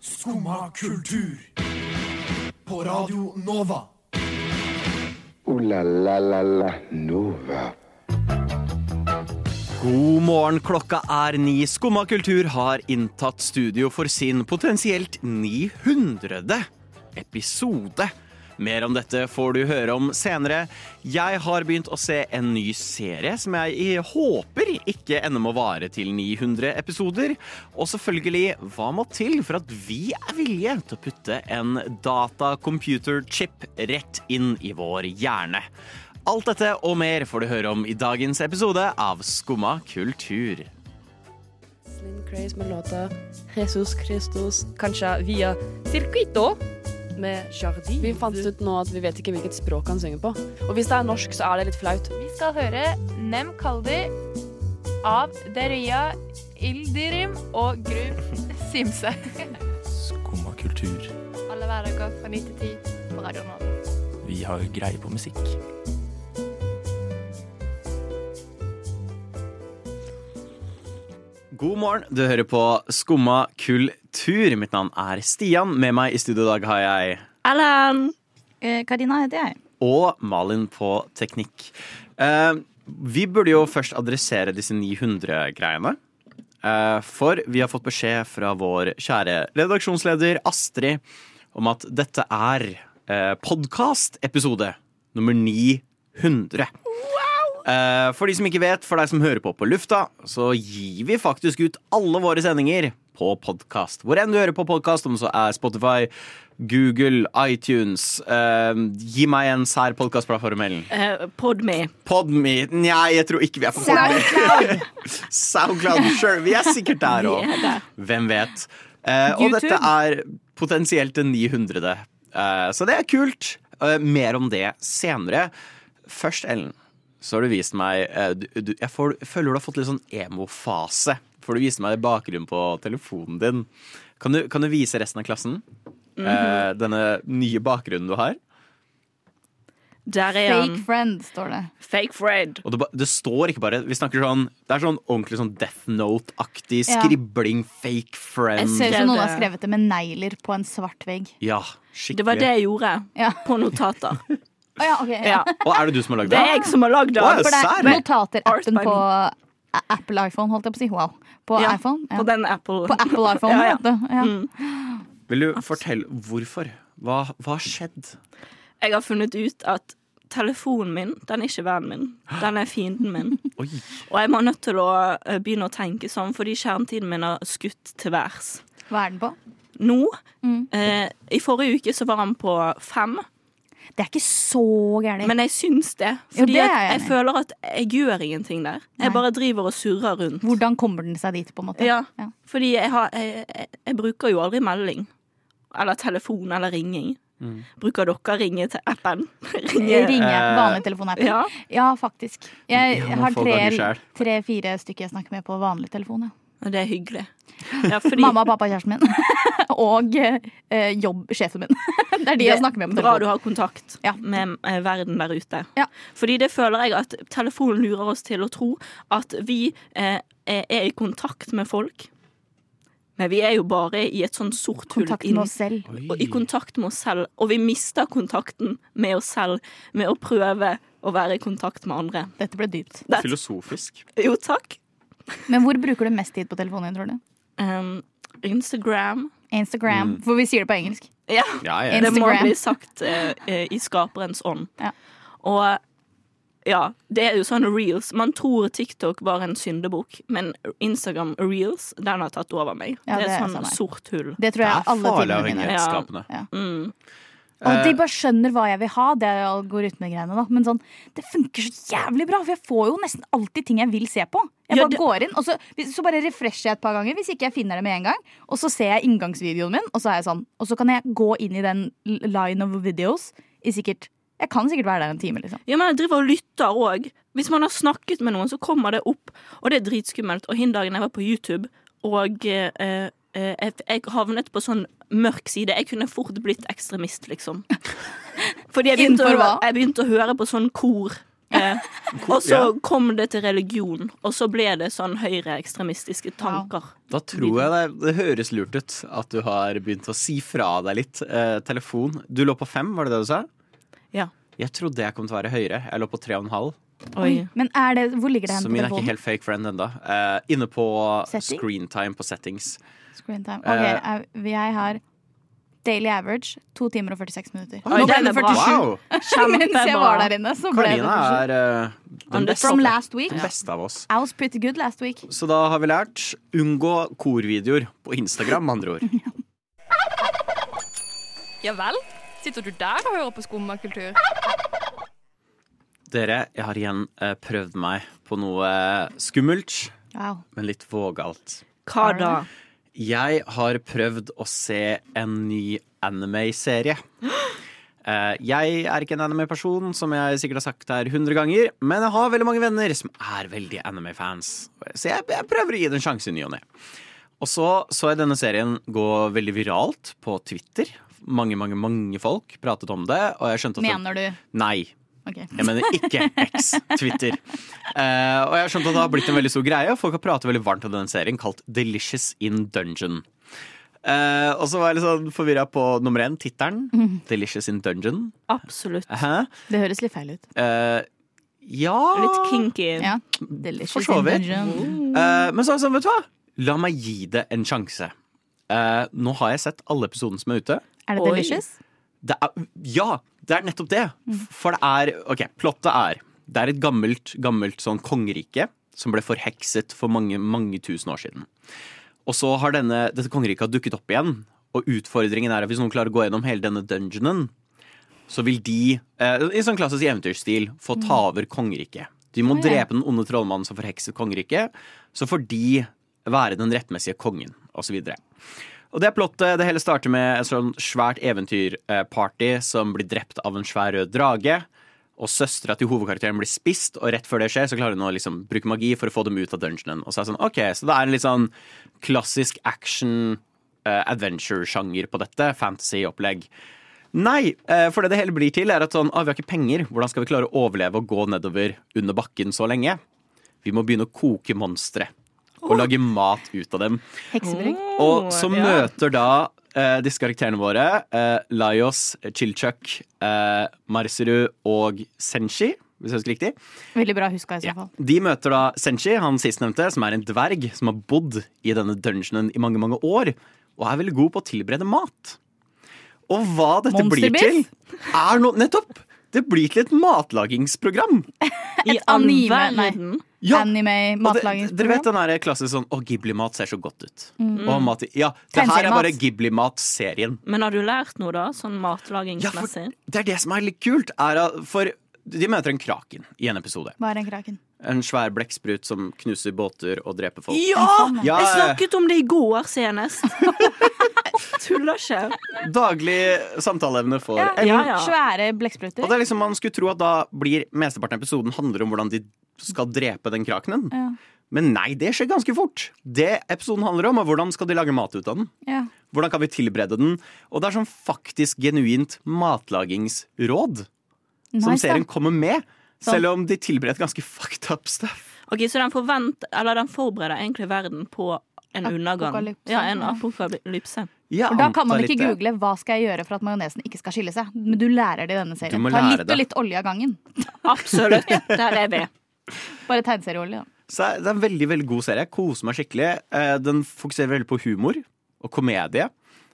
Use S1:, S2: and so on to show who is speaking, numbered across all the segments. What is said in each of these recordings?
S1: Skumma kultur. På Radio Nova.
S2: Ooh la la la la Nova.
S3: God morgen, klokka er ni. Skumma kultur har inntatt studio for sin potensielt 900. episode. Mer om dette får du høre om senere. Jeg har begynt å se en ny serie som jeg i- håper ikke ender med å vare til 900 episoder. Og selvfølgelig, hva må til for at vi er villige til å putte en data-computer-chip rett inn i vår hjerne? Alt dette og mer får du høre om i dagens episode av Skumma kultur.
S4: Slim Craze med låta Jesus Christus, kanskje via Circuito med Jardin. Vi fant ut nå at vi vet ikke hvilket språk han synger på. Og hvis det er norsk, så er det litt flaut.
S5: Vi skal høre Nem Kaldi av Deria Ildirim og Grub Simse.
S6: Skumma kultur.
S5: Alle hverdager fra 9 til 10 på Radio Nova.
S6: Vi har jo greie på musikk.
S3: God morgen, du hører på Skumma kultur. Mitt navn er Stian. Med meg i studio i dag har jeg
S7: Allan! Eh, Karina heter jeg.
S3: og Malin på teknikk. Eh, vi burde jo først adressere disse 900-greiene. Eh, for vi har fått beskjed fra vår kjære redaksjonsleder Astrid om at dette er eh, podkast-episode nummer 900. Eh, for de som ikke vet, for deg som hører på på lufta, så gir vi faktisk ut alle våre sendinger på podkast. Hvor enn du hører på podkast, om det så er Spotify, Google, iTunes eh, Gi meg en sær podkastplattform.
S7: Eh, Podme.
S3: Podme Nei, jeg tror ikke vi er på Podme. Soundcloud. Sure, vi er sikkert der
S7: Vi er
S3: òg.
S7: der.
S3: Hvem vet. Eh, og
S7: YouTube.
S3: dette er potensielt det 900. Eh, så det er kult. Eh, mer om det senere. Først, Ellen, så har du vist meg eh, du, du, Jeg får, føler du har fått litt sånn emofase. For du viste meg bakgrunnen på telefonen din. Kan du, kan du vise resten av klassen eh,
S7: Mhm.
S3: denne nye bakgrunnen du har?
S7: Der er han.
S8: Fake friend, står det.
S7: Fake Fred.
S3: Og det, ba- det står ikke bare Vi snakker sånn Det er sånn ordentlig sånn Death Note-aktig
S8: Ja.
S3: skribling, fake
S8: Jeg
S3: friend.
S8: ser ut
S7: det-
S8: som noen har skrevet det med negler på en svart vegg.
S3: Ja,
S7: Det var det
S3: skikkelig.
S7: jeg gjorde
S8: Ja.
S7: på notater.
S8: Å ja, ok.
S7: Ja.
S8: Ja.
S3: Og er det du som har lagd
S7: Det
S3: det?
S7: er jeg som har lagd
S3: Wow,
S7: det.
S8: For det
S3: Sær.
S8: er notater-appen
S7: Art by
S8: på A- Apple iPhone, holdt jeg på å si. Wow. På
S7: Ja,
S8: iPhone. Ja.
S7: På den Apple.
S8: På Apple iPhone,
S7: Ja, Mm. ja.
S8: vet du. Ja.
S3: Vil du fortelle hvorfor? Hva hva har skjedd?
S7: Jeg har funnet ut at telefonen min, den er ikke vennen min. Den er fienden min.
S3: Oi.
S7: Og jeg må nødt til å eh, begynne å tenke sånn, fordi skjermtiden min har skutt til værs.
S8: Hva er den på?
S7: Nå,
S8: Mm.
S7: eh, i forrige uke så var han på fem,
S8: Det er ikke så gærent.
S7: men jeg syns det.
S8: Jo,
S7: Fordi
S8: det er
S7: at
S8: jeg
S7: jeg
S8: enig i.
S7: føler at jeg gjør ingenting der. Jeg
S8: Nei.
S7: bare driver og surrer rundt.
S8: Hvordan kommer den seg dit, på en måte?
S7: Ja,
S8: Ja.
S7: fordi jeg, har, jeg, jeg, jeg bruker jo aldri melding. Eller telefon eller ringing. Bruker dere ringe til appen?
S8: Jeg
S7: ringe.
S8: ringer
S3: Eh,
S8: vanlig telefonapp. Ja.
S7: Ja.
S8: faktisk. Jeg
S3: Ja, man
S8: har
S3: får ganger
S8: tre-
S3: selv.
S8: tre-fire stykker jeg snakker med på vanlig telefon. Ja.
S7: Og det er hyggelig. Ja, fordi
S8: Mamma og pappa, kjæresten min. og eh, jobb, sjefen min. det er de jeg snakker med på
S7: Bra du
S8: telefonen.
S7: har kontakt
S8: Ja.
S7: med eh, verden der ute.
S8: Ja.
S7: Fordi det føler jeg at telefonen lurer oss til å tro at vi eh, er i kontakt med folk. Men vi er jo bare i et sånn sort hull
S8: Kontakt
S7: inn-
S8: med oss selv.
S7: og i kontakt med oss selv, og vi mister kontakten med oss selv med å prøve å være i kontakt med andre.
S8: Dette ble dypt.
S7: Det,
S3: Filosofisk.
S7: jo, takk.
S8: Men hvor bruker du mest tid på telefonen din, tror du?
S7: Um, Instagram.
S3: Mm.
S8: Instagram. For vi sier det på engelsk.
S7: Ja,
S3: Ja, ja.
S8: En-
S7: det må
S8: Instagram.
S7: bli sagt eh, eh, i skaperens ånd.
S8: Ja.
S7: Og ja, det er jo sånn reels. Man tror TikTok var en syndebukk, men Instagram reels, den har tatt over meg.
S8: Ja,
S7: det,
S8: det er
S7: er sånn
S8: samme her.
S7: sort hull.
S8: Det tror
S3: Det
S8: jeg
S3: er
S8: alle
S3: farlig
S8: timene mine er.
S3: avhengighetsskapende.
S8: Ja.
S7: Mm.
S8: Og
S3: Eh.
S8: de bare skjønner hva jeg vil ha, det er jo algoritmegreiene, da. Men sånn, det funker så jævlig bra, for jeg får jo nesten alltid ting jeg vil se på. Jeg
S7: Ja,
S8: bare
S7: det-
S8: går inn, og så, hvis- så bare refresher jeg et par ganger hvis ikke jeg finner det med en gang. Og så ser jeg inngangsvideoen min, og så er jeg sånn. Og så kan jeg gå inn i den l- line of videos i sikkert Jeg kan sikkert være der en time, liksom.
S7: Ja, men jeg driver og lytter òg. Hvis man har snakket med noen, så kommer det opp, og det er dritskummelt. Og hin dagen jeg var på YouTube, og eh, eh, jeg, jeg havnet på sånn mørk side Jeg kunne fort blitt ekstremist, liksom. Fordi jeg begynte,
S8: Innenfor
S7: å,
S8: hva?
S7: jeg begynte å høre på sånn kor. Eh, Eh, og så
S3: ja.
S7: kom det til religion, og så ble det sånn høyreekstremistiske tanker.
S3: Da tror jeg det, det høres lurt ut at du har begynt å si fra deg litt. Eh, telefon. Du lå på fem, var det det du sa?
S7: Ja.
S3: Jeg trodde jeg kom til å være høyere. Jeg lå på tre og en halv.
S7: Oi.
S8: Men er det, hvor ligger det hen
S3: Så
S8: på
S3: min er ikke
S8: telefonen?
S3: helt fake friend ennå. inne på
S8: Setting?
S3: screentime på settings.
S8: Screen time. Ok,
S3: Eh.
S8: jeg, jeg har daily average 2 timer og 46 minutter.
S7: Oi,
S8: Nå ble
S7: den er
S8: det
S7: bra.
S8: 47
S3: Wow!
S8: mens jeg
S7: Kjempebra.
S8: var der inne. Så ble det
S3: Karina
S8: 47.
S3: er eh, den
S7: Under-
S3: beste,
S8: From last week.
S3: den beste av oss.
S8: I was pretty good last week.
S3: Så da har vi lært unngå korvideoer på Instagram, med andre ord.
S5: Ja vel? Sitter du der og hører på skummakultur?
S3: Dere, jeg har igjen eh, prøvd meg på noe eh, skummelt,
S8: Wow.
S3: men litt vågalt.
S7: Hva da?
S3: Jeg har prøvd å se en ny anime-serie. Eh, Jeg er ikke en anime-person, som jeg sikkert har sagt her hundre ganger, men jeg har veldig mange venner som er veldig anime-fans, så jeg, jeg prøver å gi det en sjanse i ny og ne. Og så så jeg denne serien gå veldig viralt på Twitter. Mange, mange, mange folk pratet om det, og jeg skjønte at det-
S8: Mener du?
S3: Nei.
S8: Ok.
S3: Jeg mener ikke X, Twitter. Eh, og jeg har skjønt at det har blitt en veldig stor greie, og folk har pratet veldig varmt om den serien kalt Delicious in Dungeon. Eh, og så var jeg litt sånn forvirra på nummer én, tittelen. Delicious in Dungeon.
S7: Absolutt.
S3: Hæ?
S8: Det høres litt feil ut.
S3: Eh, ja
S7: Litt kinky.
S8: Ja.
S3: Eh, For så vidt.
S8: Dungeon.
S3: Eh, men så er jeg sånn, vet du hva? La meg gi det en sjanse. Eh, nå har jeg sett alle episoden som er ute.
S8: Er det
S7: Oi.
S8: delicious?
S3: det er, ja, det er nettopp det. For det er Ok, plottet er Det er et gammelt, gammelt sånn kongerike som ble forhekset for mange, mange tusen år siden. Og så har denne, dette kongeriket har dukket opp igjen, og utfordringen er at hvis noen klarer å gå gjennom hele denne dungeonen, så vil de, eh, i sånn klassisk eventyrstil, få ta over kongeriket. De må
S8: ja.
S3: drepe den onde trollmannen som forhekset kongeriket, så får de være den rettmessige kongen, osv. Og det er plottet. Det hele starter med et sånn svært eventyrparty som blir drept av en svær rød drage. Og søstera til hovedkarakteren blir spist, og rett før det skjer, så klarer hun å liksom bruke magi for å få dem ut av dungeonen. Og så er det sånn, ok, så det er en litt sånn klassisk action eh, adventure-sjanger på dette. Fantasy-opplegg. Nei, eh, for det det hele blir til, er at sånn, ah, vi har ikke penger. Hvordan skal vi klare å overleve og gå nedover under bakken så lenge? Vi må begynne å koke monstre. Og lage mat ut av dem.
S8: Heksebrygg?
S3: Og så
S7: ja.
S3: møter da eh, disse karakterene våre eh, Laios, Chilchuk, eh, Marcerud og Senshi, hvis jeg husker riktig.
S8: Veldig bra huska, i så
S3: Ja.
S8: fall.
S3: De møter da Senshi, han sistnevnte, som er en dverg som har bodd i denne dungeonen i mange, mange år, og er veldig god på å tilberede mat. Og hva dette blir til,
S8: Monsterbiff?
S3: er noe Nettopp! Det blir til et matlagingsprogram.
S7: I
S8: Et
S7: all
S8: anime, nei.
S7: verden.
S3: Ja,
S8: Anime,
S3: og det- Dere vet
S8: matlagingsprogram. Mm.
S3: den der klassiske sånn Å, Ghibli-mat ser så godt ut. Og mat, i- ja, det her er
S8: Tegneseriemat.
S3: bare Ghibli-mat-serien.
S7: Men har du lært noe, da? Sånn
S3: Ja, for
S7: matlagingsmessig?
S3: det er det som er litt kult. Er at, for de møter en kraken i en episode.
S8: Hva er den kraken?
S3: En svær blekksprut som knuser båter og dreper folk.
S7: Ja!
S3: Ja,
S7: Jeg snakket om det i går senest. Tuller ikke.
S3: Daglig samtaleevne for
S7: Ja, ja.
S8: Svære
S3: Og
S8: blekkspruter?
S3: det er liksom Man skulle tro at da blir mesteparten av episoden handler om hvordan de skal drepe den krakenen.
S8: Ja.
S3: Men nei, det skjer ganske fort. Det episoden handler om, er hvordan skal de lage mat ut av den.
S8: Ja.
S3: Hvordan kan vi tilberede den? Og det er sånn faktisk genuint matlagingsråd som
S8: Nice, da.
S3: serien kommer med.
S8: Sånn.
S3: Selv om de tilbereder ganske fucked up stuff.
S7: Ok, Så den, forvent, eller den forbereder egentlig verden på en undergang.
S8: Apokalypse.
S7: Ja, en apokalypse.
S3: Ja,
S8: For da kan man
S3: antar
S8: ikke
S3: litt det.
S8: google 'hva skal jeg gjøre for at majonesen ikke skal skille seg'? Men du lærer det i denne serien.
S3: må
S8: Ta
S3: lære
S8: litt
S3: det.
S8: og litt olje av gangen.
S7: Absolutt. Der er vi.
S8: Bare tegneserieolje. da.
S3: Så det er en veldig veldig god serie. Jeg koser meg skikkelig. Eh, Den fokuserer veldig på humor og komedie.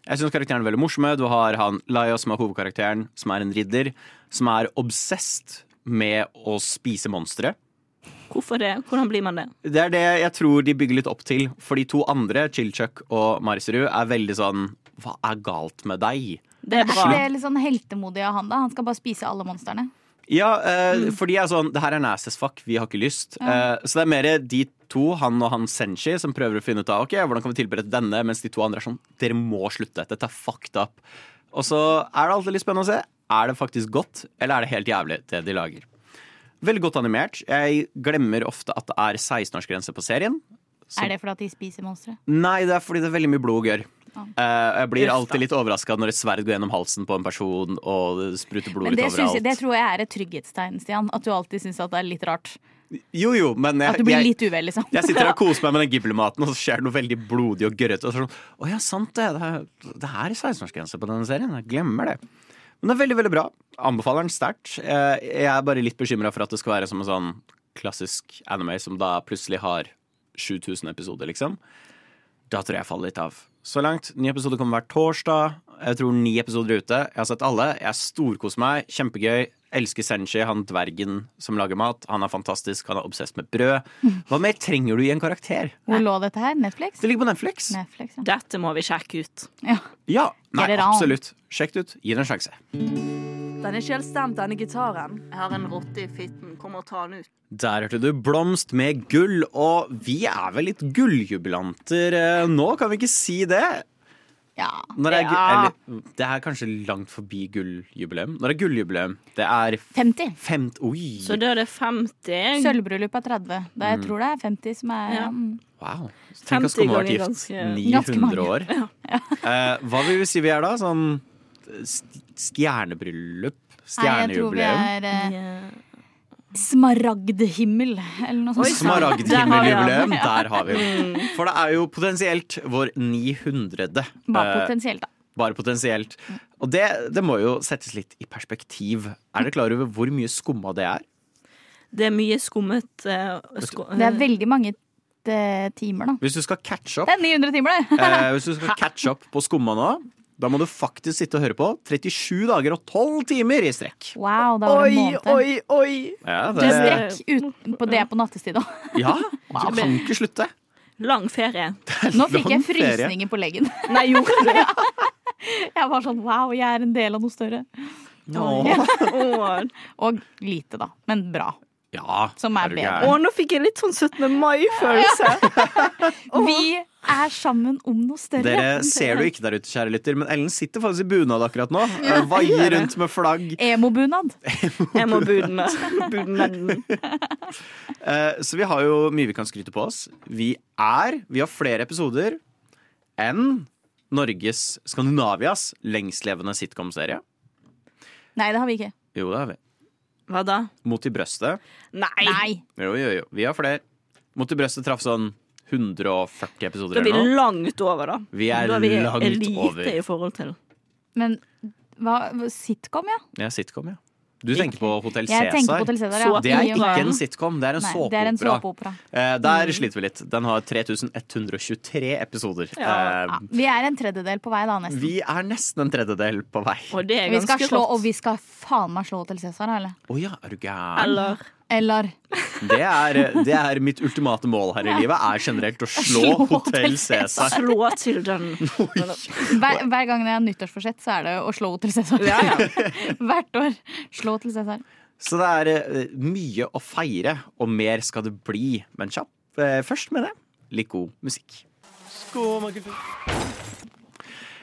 S3: Jeg syns karakterene er veldig morsomme. Du har han Laia, som er hovedkarakteren, som er en ridder. Som er obsesst med å spise monstre.
S7: Hvorfor det? Hvordan blir man det?
S3: Det er det jeg tror de bygger litt opp til. For de to andre, Chilchuk og Marisrud, er veldig sånn Hva er galt med deg?
S7: Det er
S8: Er
S7: bra.
S8: ikke det litt sånn heltemodig av han, da? Han skal bare spise alle monstrene.
S3: Ja, eh,
S8: Mm.
S3: for de er sånn Det her er nasty as fuck, vi har ikke lyst. Eh, så det er mer de to, han og han Senshi, som prøver å finne ut av Ok, hvordan kan vi tilberede denne, mens de to andre er sånn Dere må slutte, dette er fucked up. Og så er det alltid litt spennende å se. Er det faktisk godt, eller er det helt jævlig, det de lager? Veldig godt animert. Jeg glemmer ofte at det er 16-årsgrense på serien. Så-
S8: Er det fordi at de spiser monstre?
S3: Nei, det er fordi det er veldig mye blod og gørr.
S8: Ah.
S3: Eh, jeg blir
S7: Uff da.
S3: alltid litt overraska når et sverd går gjennom halsen på en person og det spruter blod
S8: Men
S3: ut
S8: det, syns,
S3: overalt.
S8: det tror jeg er et trygghetstegn, Stian. At du alltid syns at det er litt rart.
S3: Jo, jo, men
S8: At du
S3: jeg,
S8: blir
S3: jeg,
S8: litt uvel, liksom.
S3: jeg sitter her og koser meg med den giblematen, og så skjer det noe veldig blodig og gørrete. Og så er det sånn, å ja, sant det. Det er, det er 16-årsgrense på denne serien. Jeg glemmer det. Men det er veldig, veldig bra. Anbefaler den sterkt. Eh, Jeg er bare litt bekymra for at det skal være som en sånn klassisk anime som da plutselig har 7000 episoder, liksom. Da tror jeg jeg faller litt av. Så langt. Ny episode kommer hver torsdag. Jeg tror ni episoder er ute. Jeg har sett alle. Jeg storkoser meg. Kjempegøy. Elsker Senshi, han dvergen som lager mat. Han er fantastisk. Han er obsess med brød. Hva mer trenger du i en karakter?
S8: Hvor lå dette her? Netflix?
S3: Det ligger på Netflix.
S8: Netflix ja.
S7: Dette må vi sjekke ut.
S3: Ja. Nei,
S8: Get it on.
S3: absolutt. Sjekk det ut. Gi det en sjanse.
S4: Den er ikke helt stemt, denne gitaren.
S7: Jeg har en rotte i fitten. Kom og ta den ut.
S3: Der hørte du Blomst med gull, og vi er vel litt gulljubilanter eh, nå, kan vi ikke si det?
S8: ja.
S3: Når det, er, gu-
S7: Ja.
S3: eller, det er kanskje langt forbi gulljubileum. Når det er gulljubileum, det er
S8: 50.
S3: femt... Oi!
S7: Så da er det 50.
S8: Sølvbryllup er 30. Da
S3: Mm.
S8: jeg tror det er 50 som er
S7: Ja.
S8: mm.
S3: Wow. Tenk oss
S7: 50
S3: komme vært
S7: ganger
S3: gift
S7: ganske-
S3: 900
S8: ganske mange.
S3: år. Eh, hva vil vi si vi er da? Sånn st- stjernebryllup?
S8: Nei, jeg tror vi
S3: Stjernejubileum?
S8: er eh,
S7: Ja.
S8: smaragdhimmel eller noe sånt.
S3: Smaragdhimmeljubileum.
S8: Ja.
S3: Der har vi den.
S8: Mm.
S3: For det er jo potensielt vår 900.
S8: Bare
S3: eh,
S8: potensielt, da.
S3: Bare potensielt. Og det, det må jo settes litt i perspektiv. Er dere klar over hvor mye skumma det er?
S7: Det er mye skummet eh, sku
S8: Det er veldig mange eh, timer, da.
S3: Hvis du skal catche opp,
S8: Det er 900 timer, det!
S3: eh, hvis du skal catche opp på skumma nå, da må du faktisk sitte og høre på 37 dager og 12 timer i strekk.
S8: Wow, da var det en måned. Eh.
S7: oi!
S3: Ja,
S8: Det
S3: det,
S8: er strekk ut på det på nattestid òg.
S3: ja, du kan ikke slutte.
S7: Lang ferie.
S8: Nå fikk jeg
S3: Lang ferie.
S8: frysninger på leggen.
S7: Nei, gjorde du det?
S8: Jeg var sånn wow, jeg er en del av noe større.
S3: Åh.
S7: Åh.
S8: Og lite, da. Men bra.
S3: Ja,
S8: Som er
S3: du
S8: bedre.
S7: Å,
S3: gæren?
S7: nå fikk jeg litt sånn 17. mai-følelse.
S8: Vi er sammen om noe større.
S3: Dere ser du ikke der ute, kjære lytter, men Ellen sitter faktisk i bunad akkurat nå. Eh, Vaier rundt med flagg.
S8: Emobunad.
S7: Jeg må eh. budne. budne.
S3: Eh, Så vi har jo mye vi kan skryte på oss. Vi er, vi har flere episoder enn Norges, Skandinavias, lengstlevende sitcom-serie.
S8: Nei, det har vi ikke.
S3: Jo, det har vi.
S7: Hva da?
S3: Mot i brøstet.
S7: Nei.
S8: Nei.
S3: Jo, jo, jo. Vi har flere. Mot i brøstet traff sånn 140
S7: Da
S3: episoder
S7: er vi
S3: eller noe.
S7: langt over, da.
S3: Vi er
S7: da er vi
S3: langt
S7: elite
S3: over.
S7: i forhold til
S8: Men hva, sitcom, ja.
S3: Ja, sitcom, ja. Du tenker på Hotell
S8: Jeg tenker på
S3: Cæsar.
S8: Hotell Cæsar.
S7: Så
S8: Ja.
S3: Det er
S8: I og med-
S3: ikke en sitcom, det er en
S8: Nei, det er en
S3: såpeopera.
S8: såpeopera.
S3: Eh, Der sliter vi litt. Den har 3123 episoder.
S7: Ja.
S3: Eh,
S8: Ja, vi er en tredjedel på vei, da, nesten.
S3: Vi er nesten en tredjedel på vei.
S7: Og det er
S8: Vi skal
S7: ganske
S8: slå,
S7: rått.
S8: og vi skal faen meg slå Hotell Cæsar, da, eller?
S3: Å ja, er du gæren?
S7: Eller
S8: Eller
S3: Det er, det er mitt ultimate mål her i livet, er generelt å slå Hotell
S8: Slå Hotel
S3: Cæsar.
S7: slå til den.
S8: hver, hver gang det er nyttårsforsett, så er det å slå Hotell Cæsar.
S7: Ja, ja.
S8: Hvert år. Slå Hotell Cæsar.
S3: Så det er eh, mye å feire, og mer skal det bli. Men kjapp eh, først med det. Litt god musikk.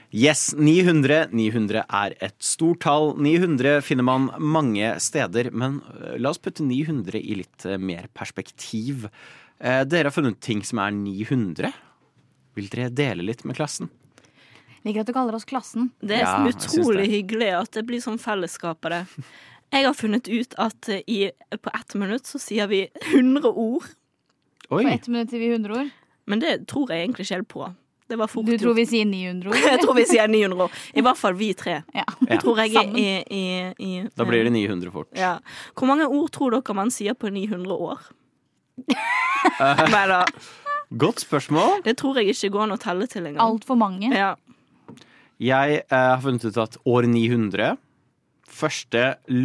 S3: Yes, 900. 900 er et stort tall. 900 finner man mange steder, men eh, la oss putte 900 i litt eh, mer perspektiv. Eh, Dere har funnet ting som er 900. Vil dere dele litt med klassen?
S8: Liker at du kaller oss Klassen.
S7: Det er
S3: Ja, jeg syns
S7: utrolig
S3: det.
S7: hyggelig at det blir sånn fellesskap av det. Jeg har funnet ut at eh, i, på ett minutt så sier vi 100 ord.
S3: Oi,
S8: På ett minutt til vi 100 ord.
S7: Men det tror jeg egentlig ikke helt på. Det var fort
S8: Du tror
S7: gjort.
S8: vi sier 900 ord?
S7: Jeg tror vi sier 900 ord. I hvert fall vi tre.
S8: Ja.
S3: Ja.
S7: Tror jeg er
S8: Sammen.
S7: i, i, i eh,
S3: da blir det 900 fort.
S7: ja. Hvor mange ord tror dere man sier på 900 år? Nei da.
S3: Godt spørsmål.
S7: Det tror jeg ikke går an å telle til engang.
S8: Altfor mange.
S7: Ja.
S3: Jeg eh, har funnet ut at år 900, første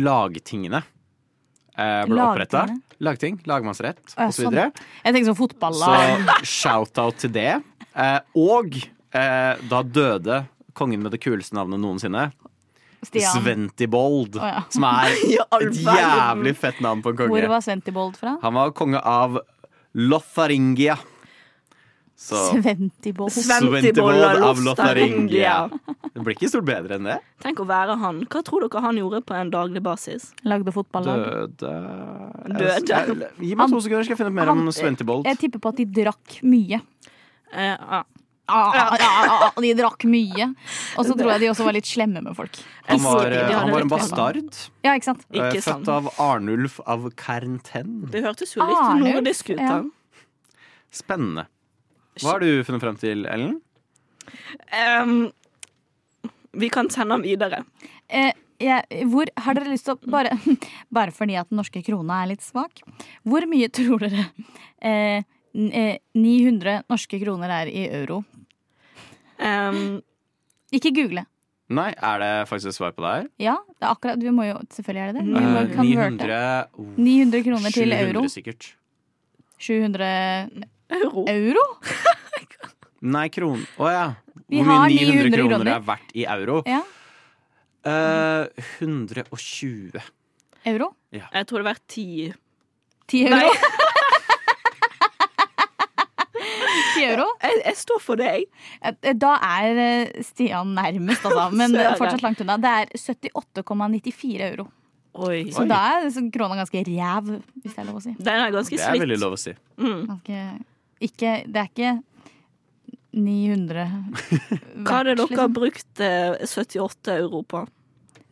S3: lagtingene eh, ble oppretta.
S8: Lagtingene?
S3: Lagting, lagmannsrett
S8: ja,
S3: osv. videre
S8: Jeg tenker sånn fotballag.
S3: Så shout-out til det. Eh, og eh, da døde kongen med det kuleste navnet noensinne,
S8: Stian.
S3: Sventibold,
S8: ja.
S3: som er
S7: all
S3: et
S7: verden.
S3: jævlig fett navn på en
S8: Hvor
S3: konge.
S8: var Sventibold fra?
S3: Han var konge av Lotharingia. Så
S8: Sventibold.
S3: Sventibold av
S7: Lotharingia.
S3: Lotharingia. Det blir ikke stort bedre enn det.
S7: Tenk å være han. Hva tror dere han gjorde på en daglig basis?
S8: Lagde fotballag.
S3: Døde
S7: Døde.
S3: Jeg- Gi meg to
S8: Han-
S3: sekunder, skal jeg finne ut mer
S8: han-
S3: om Sventibold.
S8: Jeg tipper på at de drakk mye.
S7: Eh, ja.
S8: ah, ah, ah, ah, de drakk mye. Og så tror jeg de også var litt slemme med folk.
S3: Han var, eh,
S7: Pisker, de
S3: han var
S7: hadde
S3: en
S7: rett på.
S3: bastard.
S8: Ja, ikke sant?
S3: eh,
S7: Ikke sant.
S3: Født av Arnulf av Kernten.
S7: Det hørtes jo litt
S8: Arnulf,
S7: nordisk ut.
S8: ja.
S7: da.
S3: Spennende. Hva har du funnet frem til, Ellen?
S7: Ehm, vi kan sende ham videre.
S8: Eh, jeg, hvor har dere lyst til å bare, bare fordi at den norske krona er litt svak. Hvor mye tror dere eh, n- eh, 900 norske kroner er i euro?
S7: Ehm,
S8: Ikke google.
S3: Nei, er det faktisk et svar på det her?
S8: Ja, det er akkurat, vi må jo selvfølgelig er det det. Vi må,
S3: Eh,
S8: kan verte.
S3: 900 oh,
S8: 900 kroner til euro.
S3: 700 sikkert.
S8: 700
S7: euro.
S8: euro?
S3: Nei, kron... Å ja.
S8: Vi
S3: Hvor
S8: har
S3: mye 900
S8: 900
S3: kroner
S8: kroner.
S3: er verdt i euro?
S8: Ja.
S3: Eh, 120.
S8: Euro?
S7: Jeg tror det har vært ti.
S8: 10 euro? 10 euro?
S7: Jeg, jeg står for det, jeg.
S8: Eh, Da er eh, Stian nærmest, altså. Men
S7: Søren.
S8: fortsatt langt unna. Det er 78,94 euro.
S7: Oi.
S8: Så da er så krona ganske ræv, hvis det er lov å si.
S7: Den er ganske
S3: Det er veldig
S7: slitt.
S3: lov å si.
S7: Mm.
S8: Ganske, ikke, det er ikke 900
S7: Hva hadde
S8: verdt,
S7: dere
S8: liksom.
S7: brukt eh, 78 euro på?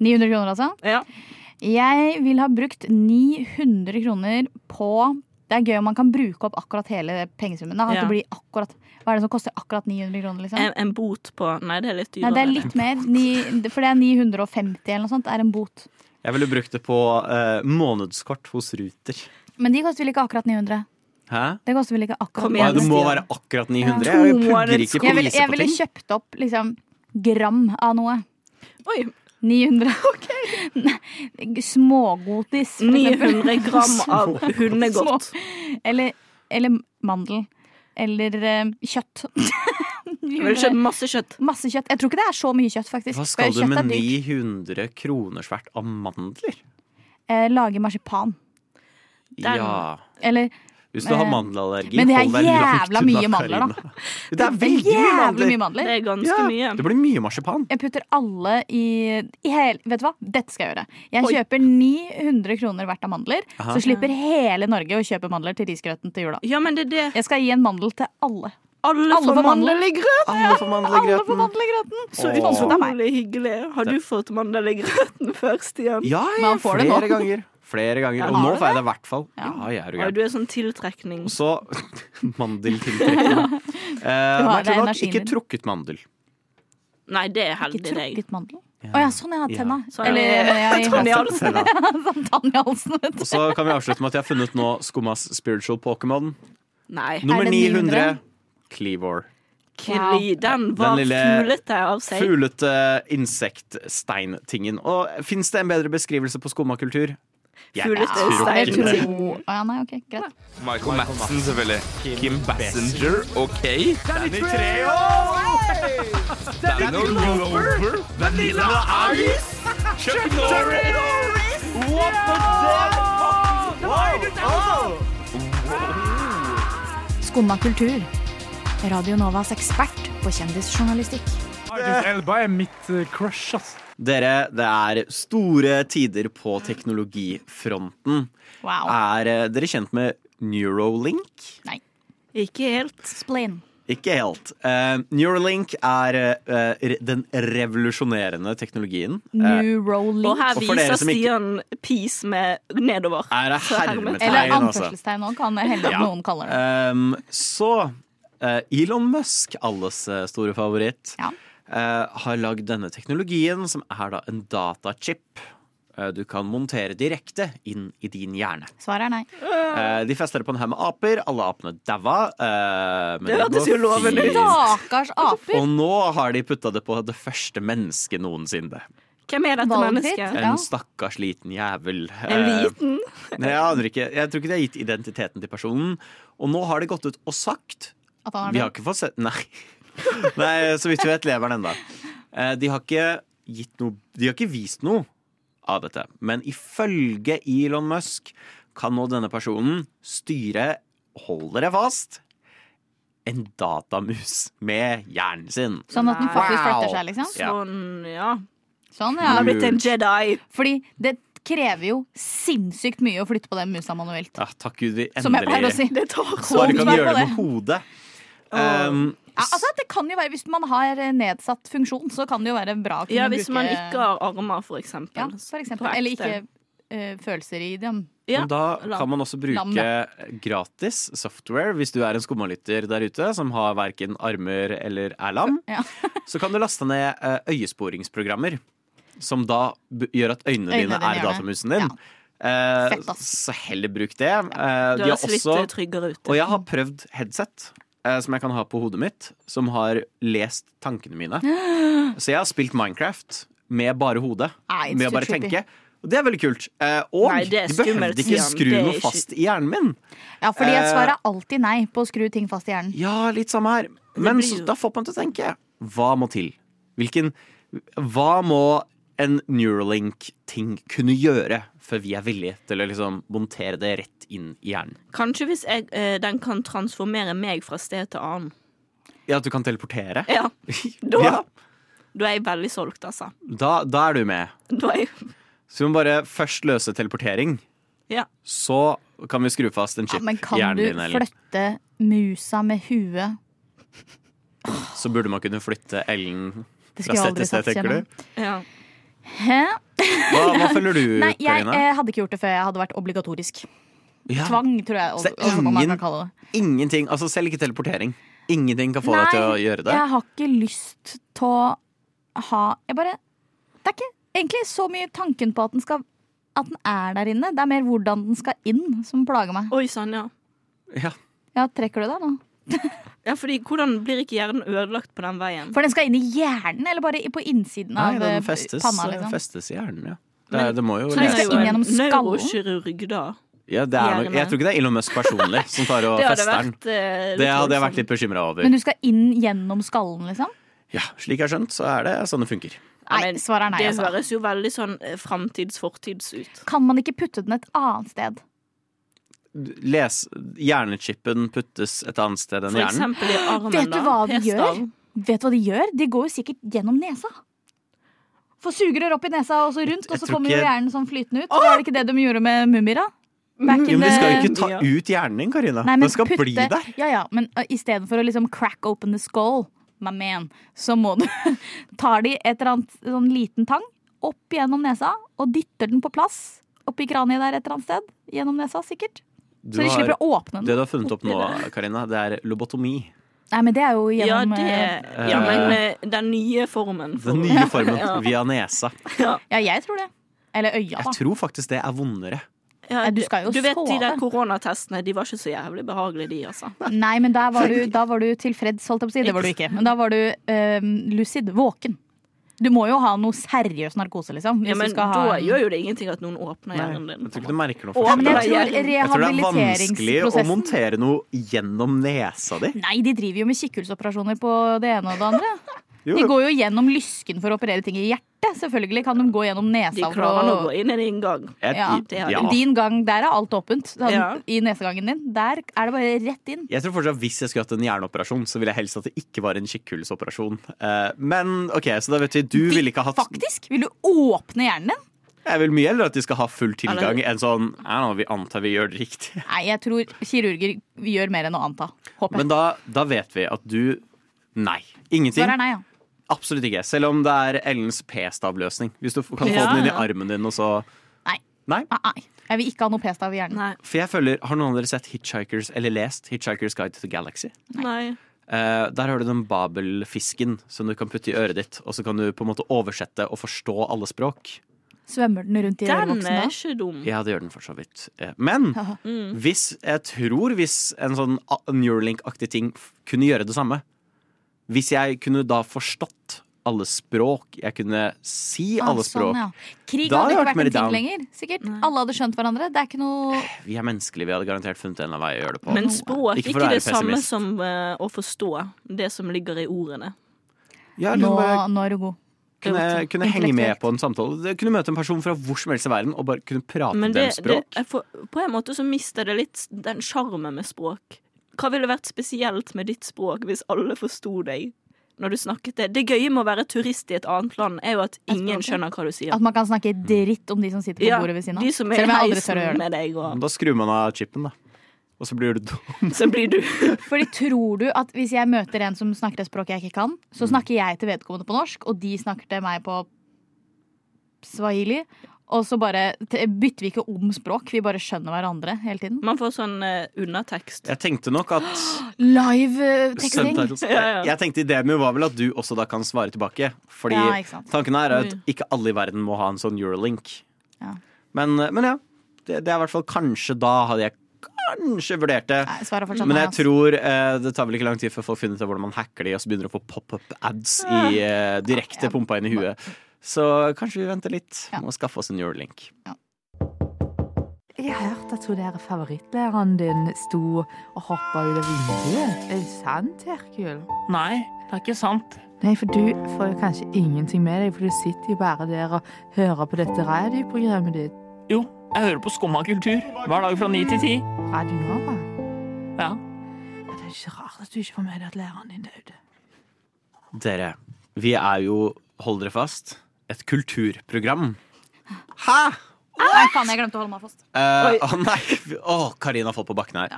S8: 900 kroner, altså?
S7: Ja.
S8: Jeg vil ha brukt 900 kroner på Det er gøy om man kan bruke opp akkurat hele pengesummen. Da. At
S7: Ja.
S8: det blir akkurat, hva er det som koster akkurat 900 kroner? Liksom?
S7: En, en bot på Nei, det er litt
S8: Nei,
S7: dyrere.
S8: det er litt mer. Ni, for det er 950 eller noe sånt. er en bot.
S3: Jeg ville brukt det på eh, månedskort hos Ruter.
S8: Men de koster vel ikke akkurat 900?
S3: Hæ?
S8: Det koster vel ikke akkurat
S7: Kom
S3: Å,
S7: igjen.
S3: det må
S7: Stian.
S3: være akkurat 900.
S7: Ja.
S3: Jeg
S7: To
S3: pugger ikke
S8: Jeg ville,
S3: priser
S8: jeg
S3: på
S8: ville
S3: ting.
S8: kjøpt opp liksom gram av noe.
S7: Oi,
S8: 900. Nei, Smågodis, for eksempel.
S7: 900 gram av hundegodt.
S8: Eller, eller mandel. Eller eh, kjøtt.
S7: Jeg ville kjøpt masse kjøtt.
S8: Masse kjøtt. Jeg tror ikke det er så mye kjøtt, faktisk.
S3: Hva skal
S8: For
S3: du
S8: kjøtt er
S3: med
S8: dyrt.
S3: 900 kroners verdt av mandler?
S8: Eh, lage marsipan.
S7: Den-
S3: Ja.
S8: Eller
S3: Hvis du har
S8: Eh,
S3: mandelallergi,
S8: men det er
S3: hold deg langt
S8: jævla
S3: unna
S8: mye mandler, da.
S3: Karina. Det er veldig mye
S8: jævlig
S3: mandler.
S8: mye mandler.
S7: Det er ganske
S3: Ja,
S7: mye.
S3: Det blir mye marsipan.
S8: Jeg putter alle i, i hel, Vet du hva? Dette skal jeg gjøre. Jeg
S7: Oi.
S8: kjøper 900 kroner verdt av mandler,
S3: Aha.
S8: så slipper hele Norge å kjøpe mandler til risgrøten til jula.
S7: Ja, men det er det.
S8: Jeg skal gi en mandel til alle.
S7: Alle,
S8: Alle får mandel i grøt!
S3: Alle får
S8: Alle får
S3: mandelgrøten.
S8: mandel i grøten!
S7: Så
S3: Åh.
S7: utrolig hyggelig. Har du fått mandel i grøten før, Stian?
S3: Ja, ja,
S8: Man får det
S3: flere
S8: nå.
S3: ganger. Flere ganger. Og
S8: har
S3: nå
S8: du
S3: får jeg det i hvert fall. Ja,
S8: Ja.
S3: jeg er jo
S7: Oi,
S3: gæren.
S7: du er sånn tiltrekning.
S3: Og så mandeltiltrekning. Eh,
S8: har det
S3: Merkelig nok
S8: energien
S3: ikke
S8: din.
S3: trukket mandel.
S7: Nei, det er heldig
S8: Ikke
S7: deg.
S8: trukket mandel? Å ja, sånn jeg har tenna.
S7: Sånn.
S8: Eller jeg, jeg,
S7: Sånn, ja.
S8: sånn tann i halsen. vet du.
S3: Og så kan vi avslutte med at jeg har funnet nå Skummas spiritual Pokémon.
S7: Nei.
S3: Nummer
S8: det
S3: 900.
S8: 900?
S3: Cleavor.
S7: Kli, den var
S3: Den lille-
S7: fuglete av seg.
S3: Fuglete insektsteintingen. Og fins det en bedre beskrivelse på skummakultur? Jeg
S7: Fuglete
S3: tror
S8: Jeg
S3: ikke
S8: tror
S3: det.
S8: to. Å ja, nei, ok, greit.
S6: Michael Madsen, selvfølgelig. Kim Bassinger, OK? Danny Treo! Danny Glover! Vanilla Ice! Chuck Norris! What the fuck?
S8: Skumma kultur. Radio Novas ekspert på kjendisjournalistikk.
S9: Idris Elba er mitt eh, crush, ass.
S3: Dere, det er store tider på teknologifronten.
S8: Wow.
S3: Er eh, dere kjent med Neuralink?
S7: Ikke helt.
S8: Splain.
S3: Ikke helt. Eh, Neuralink er eh, re- den revolusjonerende teknologien. Eh,
S7: Og
S8: Neurolink.
S7: her
S3: Og for dere
S7: viser
S3: som ikke-
S7: Stian pis med nedover.
S3: er det
S8: Eller
S3: hermetegn, altså?
S8: anførselstegn òg, kan hende at
S3: Ja.
S8: noen kaller det.
S3: Ehm, så eh, Elon Musk, alles eh, store favoritt,
S8: Ja.
S3: eh, har lagd denne teknologien, som er da en datachip. eh, Du kan montere direkte inn i din hjerne.
S8: Svaret er nei.
S3: Eh, De fester det på en haug med aper. Alle apene daua. eh, men
S7: Det
S3: går
S7: hørtes jo lovende ut.
S3: fint.
S8: Stakkars aper!
S3: Og nå har de putta det på det første mennesket noensinne.
S7: Hvem er dette
S8: Valget
S7: mennesket?
S8: sitt.
S3: En
S8: Ja.
S3: stakkars liten jævel.
S7: En
S3: Eh,
S7: liten?
S3: Nei, jeg aner ikke. Jeg tror ikke de har gitt identiteten til personen. Og nå har de gått ut og sagt
S8: At han
S3: Vi
S8: er
S3: har
S8: død.
S3: ikke fått sett Nei. Nei, så vidt vi vet, lever han ennå. De har ikke gitt noe De har ikke vist noe av dette. Men ifølge Elon Musk kan nå denne personen styre Hold dere fast en datamus med hjernen sin.
S8: Sånn at den faktisk
S3: Wow.
S8: flytter seg, liksom?
S3: Ja.
S7: Sånn, ja.
S8: Sånn,
S7: Han har
S8: ja.
S7: blitt en Jedi.
S8: Fordi det krever jo sinnssykt mye å flytte på den musa manuelt.
S3: Ja, takk Gud vi
S8: Som jeg pleier å
S3: endelig
S8: si. Det tar
S3: bare kan gjøre det med hodet. Um,
S8: Ja, altså, det kan jo være, Hvis man har eh, nedsatt funksjon, så kan det jo være bra å kunne
S7: Ja, hvis
S8: bruke
S7: man ikke har armer, for
S8: ja,
S7: eksempel.
S8: for eksempel,
S7: På ekte.
S8: Eller ikke eh, følelser i dem.
S7: Ja,
S3: Men da
S7: lam.
S3: kan man også
S8: Lam,
S3: bruke gratis software hvis du er en skummalytter der ute som har verken armer eller er lam.
S8: Ja.
S3: Så kan du laste ned eh, øyesporingsprogrammer som da b- gjør at øynene
S8: Øynene
S3: dine
S8: dine
S3: er i
S8: gjør det.
S3: datamusen din.
S8: Ja.
S3: Eh,
S8: Fett, ass.
S3: så heller bruk det. Eh,
S7: Du
S3: de har
S7: høres litt eh,
S3: også,
S7: tryggere ut.
S3: og jeg har prøvd headset eh, som jeg kan ha på hodet mitt, som har lest tankene mine. Så jeg har spilt Minecraft med bare hodet.
S8: Nei, it's
S3: med å
S8: too
S3: bare
S8: trippy.
S3: tenke. Og det er veldig kult. Eh, og
S7: Nei, det er
S3: de
S7: skummelt,
S3: behøvde ikke
S7: Stian.
S3: skru
S7: Det er
S3: noe
S7: ikke-
S3: fast i hjernen min.
S8: Ja, fordi
S3: Eh,
S8: jeg svarer alltid nei på å skru ting fast i hjernen.
S3: Ja, litt samme her. Men
S7: blir
S3: så,
S7: jo-
S3: da får man til å tenke. Hva må til? Hvilken Hva må en Neuralink-ting kunne gjøre før vi er villige til å liksom montere det rett inn i hjernen?
S7: Kanskje hvis jeg, eh, den kan transformere meg fra sted til annen.
S3: Ja, at du kan teleportere?
S7: Ja, da,
S3: Ja,
S7: da er jeg veldig solgt, altså.
S3: da, da er du med.
S7: Da er jeg,
S3: Så vi må bare først løse teleportering.
S7: ja.
S3: Så kan vi skru fast en
S8: Ja,
S3: chip
S8: men
S3: i
S8: kan
S3: hjernen
S8: du
S3: din. Eller.
S8: flytte musa med huet?
S3: Så burde man kunne flytte Ellen fra
S8: Det skulle jeg
S3: sted
S8: aldri
S3: til sted,
S8: satt
S3: tenker
S8: gjennom.
S3: du?
S7: ja.
S8: Hæ?
S3: Hva, hva føler du,
S8: Nei, jeg
S3: Karina?
S8: eh, hadde ikke gjort det før jeg hadde vært obligatorisk.
S3: Ja.
S8: Tvang, tror jeg.
S3: Så det er
S8: også, man
S3: ingen-
S8: kan kalle det.
S3: Ingenting, altså selv ikke teleportering. Ingenting kan få deg til å gjøre det.
S8: jeg har ikke lyst til å ha Jeg bare Det er ikke egentlig så mye tanken på at den skal At den er der inne. Det er mer hvordan den skal inn, som plager meg.
S7: Oi sann, ja.
S3: Ja.
S8: Ja, Trekker du deg nå?
S7: Ja, fordi Hvordan blir ikke hjernen ødelagt på den veien?
S8: For den skal inn i hjernen, eller bare på innsiden
S3: Nei,
S8: av eh,
S3: den festes,
S8: panna? liksom
S3: festes i hjernen, ja. Det,
S7: Men-
S3: det må jo
S8: den skal
S3: lese.
S8: inn igjen? gjennom skallen?
S7: Neurokirurg, da.
S3: Ja, det er nok,
S7: Hjerne.
S3: jeg tror ikke det er Elon Musk personlig som tar og
S7: Det hadde
S3: fester den.
S7: vært eh, litt
S3: Det hadde jeg
S7: voldsomt.
S3: vært litt bekymra over.
S8: Men du skal inn gjennom skallen, liksom?
S3: Ja, slik jeg har skjønt, så er det sånn det funker.
S8: Nei,
S7: Men
S8: svaret er nei.
S7: Det
S8: Altså.
S7: høres jo veldig sånn eh, framtids-fortids ut.
S8: Kan man ikke putte den et annet sted?
S3: Les, Hjernechipen puttes et annet sted enn
S7: For
S3: hjernen.
S7: eksempel i armen,
S8: Vet du
S7: da.
S8: hva de
S7: P-stav.
S8: gjør? Vet du hva de gjør? De går jo sikkert gjennom nesa. Får sugerør opp i nesa og så rundt, og
S3: Jeg
S8: så
S3: tror
S8: kommer jo
S3: ikke-
S8: hjernen sånn flytende ut. Så var det ikke det de gjorde med mummier, da? Back
S3: Ja,
S8: in
S3: men de skal jo
S8: the-
S3: ikke ta ut hjernen din, Karina.
S8: Nei, men
S3: Den skal
S8: putte-
S3: bli der.
S8: Ja, ja, men uh, istedenfor å liksom crack open the skull, my man, så må du Tar de et eller annet sånn liten tang opp gjennom nesa og dytter den på plass oppi kraniet der et eller annet sted. Gjennom nesa, sikkert.
S3: Du
S8: Så de
S3: har,
S8: slipper å åpne
S3: det
S8: den.
S3: du har funnet opp nå, Karina, det er lobotomi.
S8: Nei, men det er jo
S7: Ja,
S8: gjennom eh,
S7: det, ja, men eh, den nye formen. for-
S3: Den nye formen
S7: Ja.
S3: via nesa.
S8: Ja, jeg tror det. Eller øya, da.
S3: Jeg tror faktisk det er vondere.
S7: Ja,
S8: Nei, du skal jo
S7: du vet de
S8: sove.
S7: der koronatestene, de var ikke så jævlig behagelige, de, altså.
S8: Nei, men da var, du, da var du tilfreds, holdt jeg på å si. Det var du ikke. Men da var du eh, lucid. Våken. Du må jo ha noe seriøs narkose, liksom. Hvis
S7: Ja, men
S8: du skal ha
S7: da
S8: en-
S7: gjør jo det ingenting at noen
S3: Nei,
S7: åpner hjernen din.
S3: jeg tror ikke du merker noe
S7: Å,
S8: ja, men
S3: forskjell.
S8: jeg tror
S7: Jeg tror det
S3: Jeg tror det er vanskelig å
S8: rehabiliteringsprosessen
S3: montere noe gjennom nesa di.
S8: Nei, de driver jo med kikkhullsoperasjoner på det ene og det andre.
S3: Jo,
S8: De
S3: jo.
S8: går jo gjennom lysken for å operere ting i hjertet. Selvfølgelig kan de gå gjennom
S7: De
S8: nesa. for
S7: klarer nå å gå inn i din gang.
S3: Jeg,
S8: ja.
S7: Det har-
S3: ja.
S8: Din gang, der er alt åpent. Da-
S7: Ja.
S8: I nesegangen din. Der er det bare rett inn.
S3: jeg tror fortsatt Hvis jeg skulle hatt en hjerneoperasjon, så ville jeg helst at det ikke var en kikkhullsoperasjon. Eh, Men ok, så da vet vi, du ville ikke ha hatt
S8: Faktisk! Vil du åpne hjernen din?
S3: Jeg vil mye heller at de skal ha full tilgang
S7: Eller-
S3: enn sånn I don't know, vi antar vi gjør det riktig.
S8: Nei, jeg tror kirurger gjør mer enn å anta. Håper jeg.
S3: Men da, da vet vi at du Nei. Ingenting.
S8: Svaret er nei, ja.
S3: Absolutt ikke. Selv om det er Ellens p-stavløsning. Hvis du f- kan få
S7: Ja.
S3: den inn i armen din, og så
S8: Nei.
S3: Nei.
S8: Nei, Ah, Nei. Jeg vil ikke ha noe p-stav i hjernen.
S7: Nei.
S3: For jeg føler, Har noen av dere sett Hitchhikers, eller lest Hitchhikers Guide to the Galaxy?
S7: Nei.
S3: Eh, der har du den babelfisken som du kan putte i øret ditt, og så kan du på en måte oversette og forstå alle språk.
S8: Svømmer den rundt i
S7: Den
S8: ørevoksen
S7: er
S8: da?
S7: ikke dum.
S3: Ja, det gjør den for så vidt. Eh, Men
S8: Mm.
S3: hvis jeg tror hvis en sånn a- Neuralink-aktig ting f- kunne gjøre det samme Hvis jeg kunne da forstått alle språk, jeg kunne si alle
S8: Ah,
S3: språk
S8: sånn, ja. Krig
S3: Da hadde
S8: hadde ikke
S3: jeg vært
S8: vært
S3: mer
S8: en ting
S3: down.
S8: lenger. Sikkert. Alle hadde skjønt hverandre. Det er ikke noe
S3: Vi er menneskelige, vi hadde garantert funnet en eller annen vei å gjøre det på.
S7: Men språk
S3: Ikke
S7: ikke,
S3: for å
S7: ikke
S3: være
S7: det samme
S3: pessimist.
S7: som eh, å forstå det som ligger i ordene.
S3: ja,
S8: Nå,
S3: liksom bare
S8: nå er du god.
S3: kunne, kunne henge med
S8: Intellektuelt.
S3: på en samtale. Jeg Kunne møte en person fra hvor som helst i verden og bare kunne prate
S7: Men det,
S3: deres
S7: det,
S3: språk.
S7: jeg får, på en måte så mister det litt den sjarmen med språk. Hva ville vært spesielt med ditt språk hvis alle forsto deg når du snakket det? Det gøye med å være turist i et annet land er jo at ingen
S8: språket.
S7: skjønner hva du sier.
S8: At man kan snakke dritt om de som sitter på
S7: Ja,
S8: bordet ved siden av.
S7: de som er
S8: Selv om
S7: i
S8: jeg aldri tør å
S7: heisen
S8: gjøre det.
S7: med deg og
S3: Da skrur man av chipen, da. og så blir du dum.
S7: Så blir du
S8: Fordi tror du at hvis jeg møter en som snakker et språk jeg ikke kan,
S3: Mm.
S8: så snakker jeg til vedkommende på norsk, og de snakker til meg på swahili. Og så bare t- bytter vi ikke om språk, vi bare skjønner hverandre hele tiden.
S7: Man får sånn eh, undertekst.
S3: Jeg tenkte nok at
S8: Live eh, teksting!
S3: Subtitles.
S7: Ja, ja.
S3: Jeg tenkte ideen min var vel at du også da kan svare tilbake. Fordi
S8: Ja, ikke sant. Mm.
S3: tanken her er at ikke alle i verden må ha en sånn Eurolink.
S8: Ja.
S3: Men, men ja, det, det er i hvert fall kanskje da hadde jeg kanskje vurdert det.
S8: Nei, svaret er fortsatt
S3: Men
S8: nei,
S3: jeg
S8: altså.
S3: tror eh, det tar vel ikke lang tid før folk finner ut av hvordan man hacker de, og så begynner de å få pop-up-ads i eh, direkte pumpa inn i huet. Så kanskje vi venter litt
S8: Ja.
S3: med å skaffe oss en Eurolink.
S10: Jeg har hørt at hun der favorittlæreren din sto og hoppa ut av vinduet. Er det sant, Herkul?
S11: Nei, det er ikke sant.
S10: Nei, for du får jo kanskje ingenting med deg, for du sitter jo bare der og hører på dette radioprogrammet ditt.
S11: Jo, jeg hører på Skumma kultur hver dag fra ni til ti.
S10: Radio Nova.
S11: Ja.
S10: Men det er ikke rart at du ikke får med deg at læreren din døde.
S3: Dere, vi er jo, hold dere fast, et kulturprogram. Hæ?!
S8: Nei, Ah, faen, jeg glemte å holde meg fast.
S3: Eh, Å nei! Å, Karina har falt på bakken her.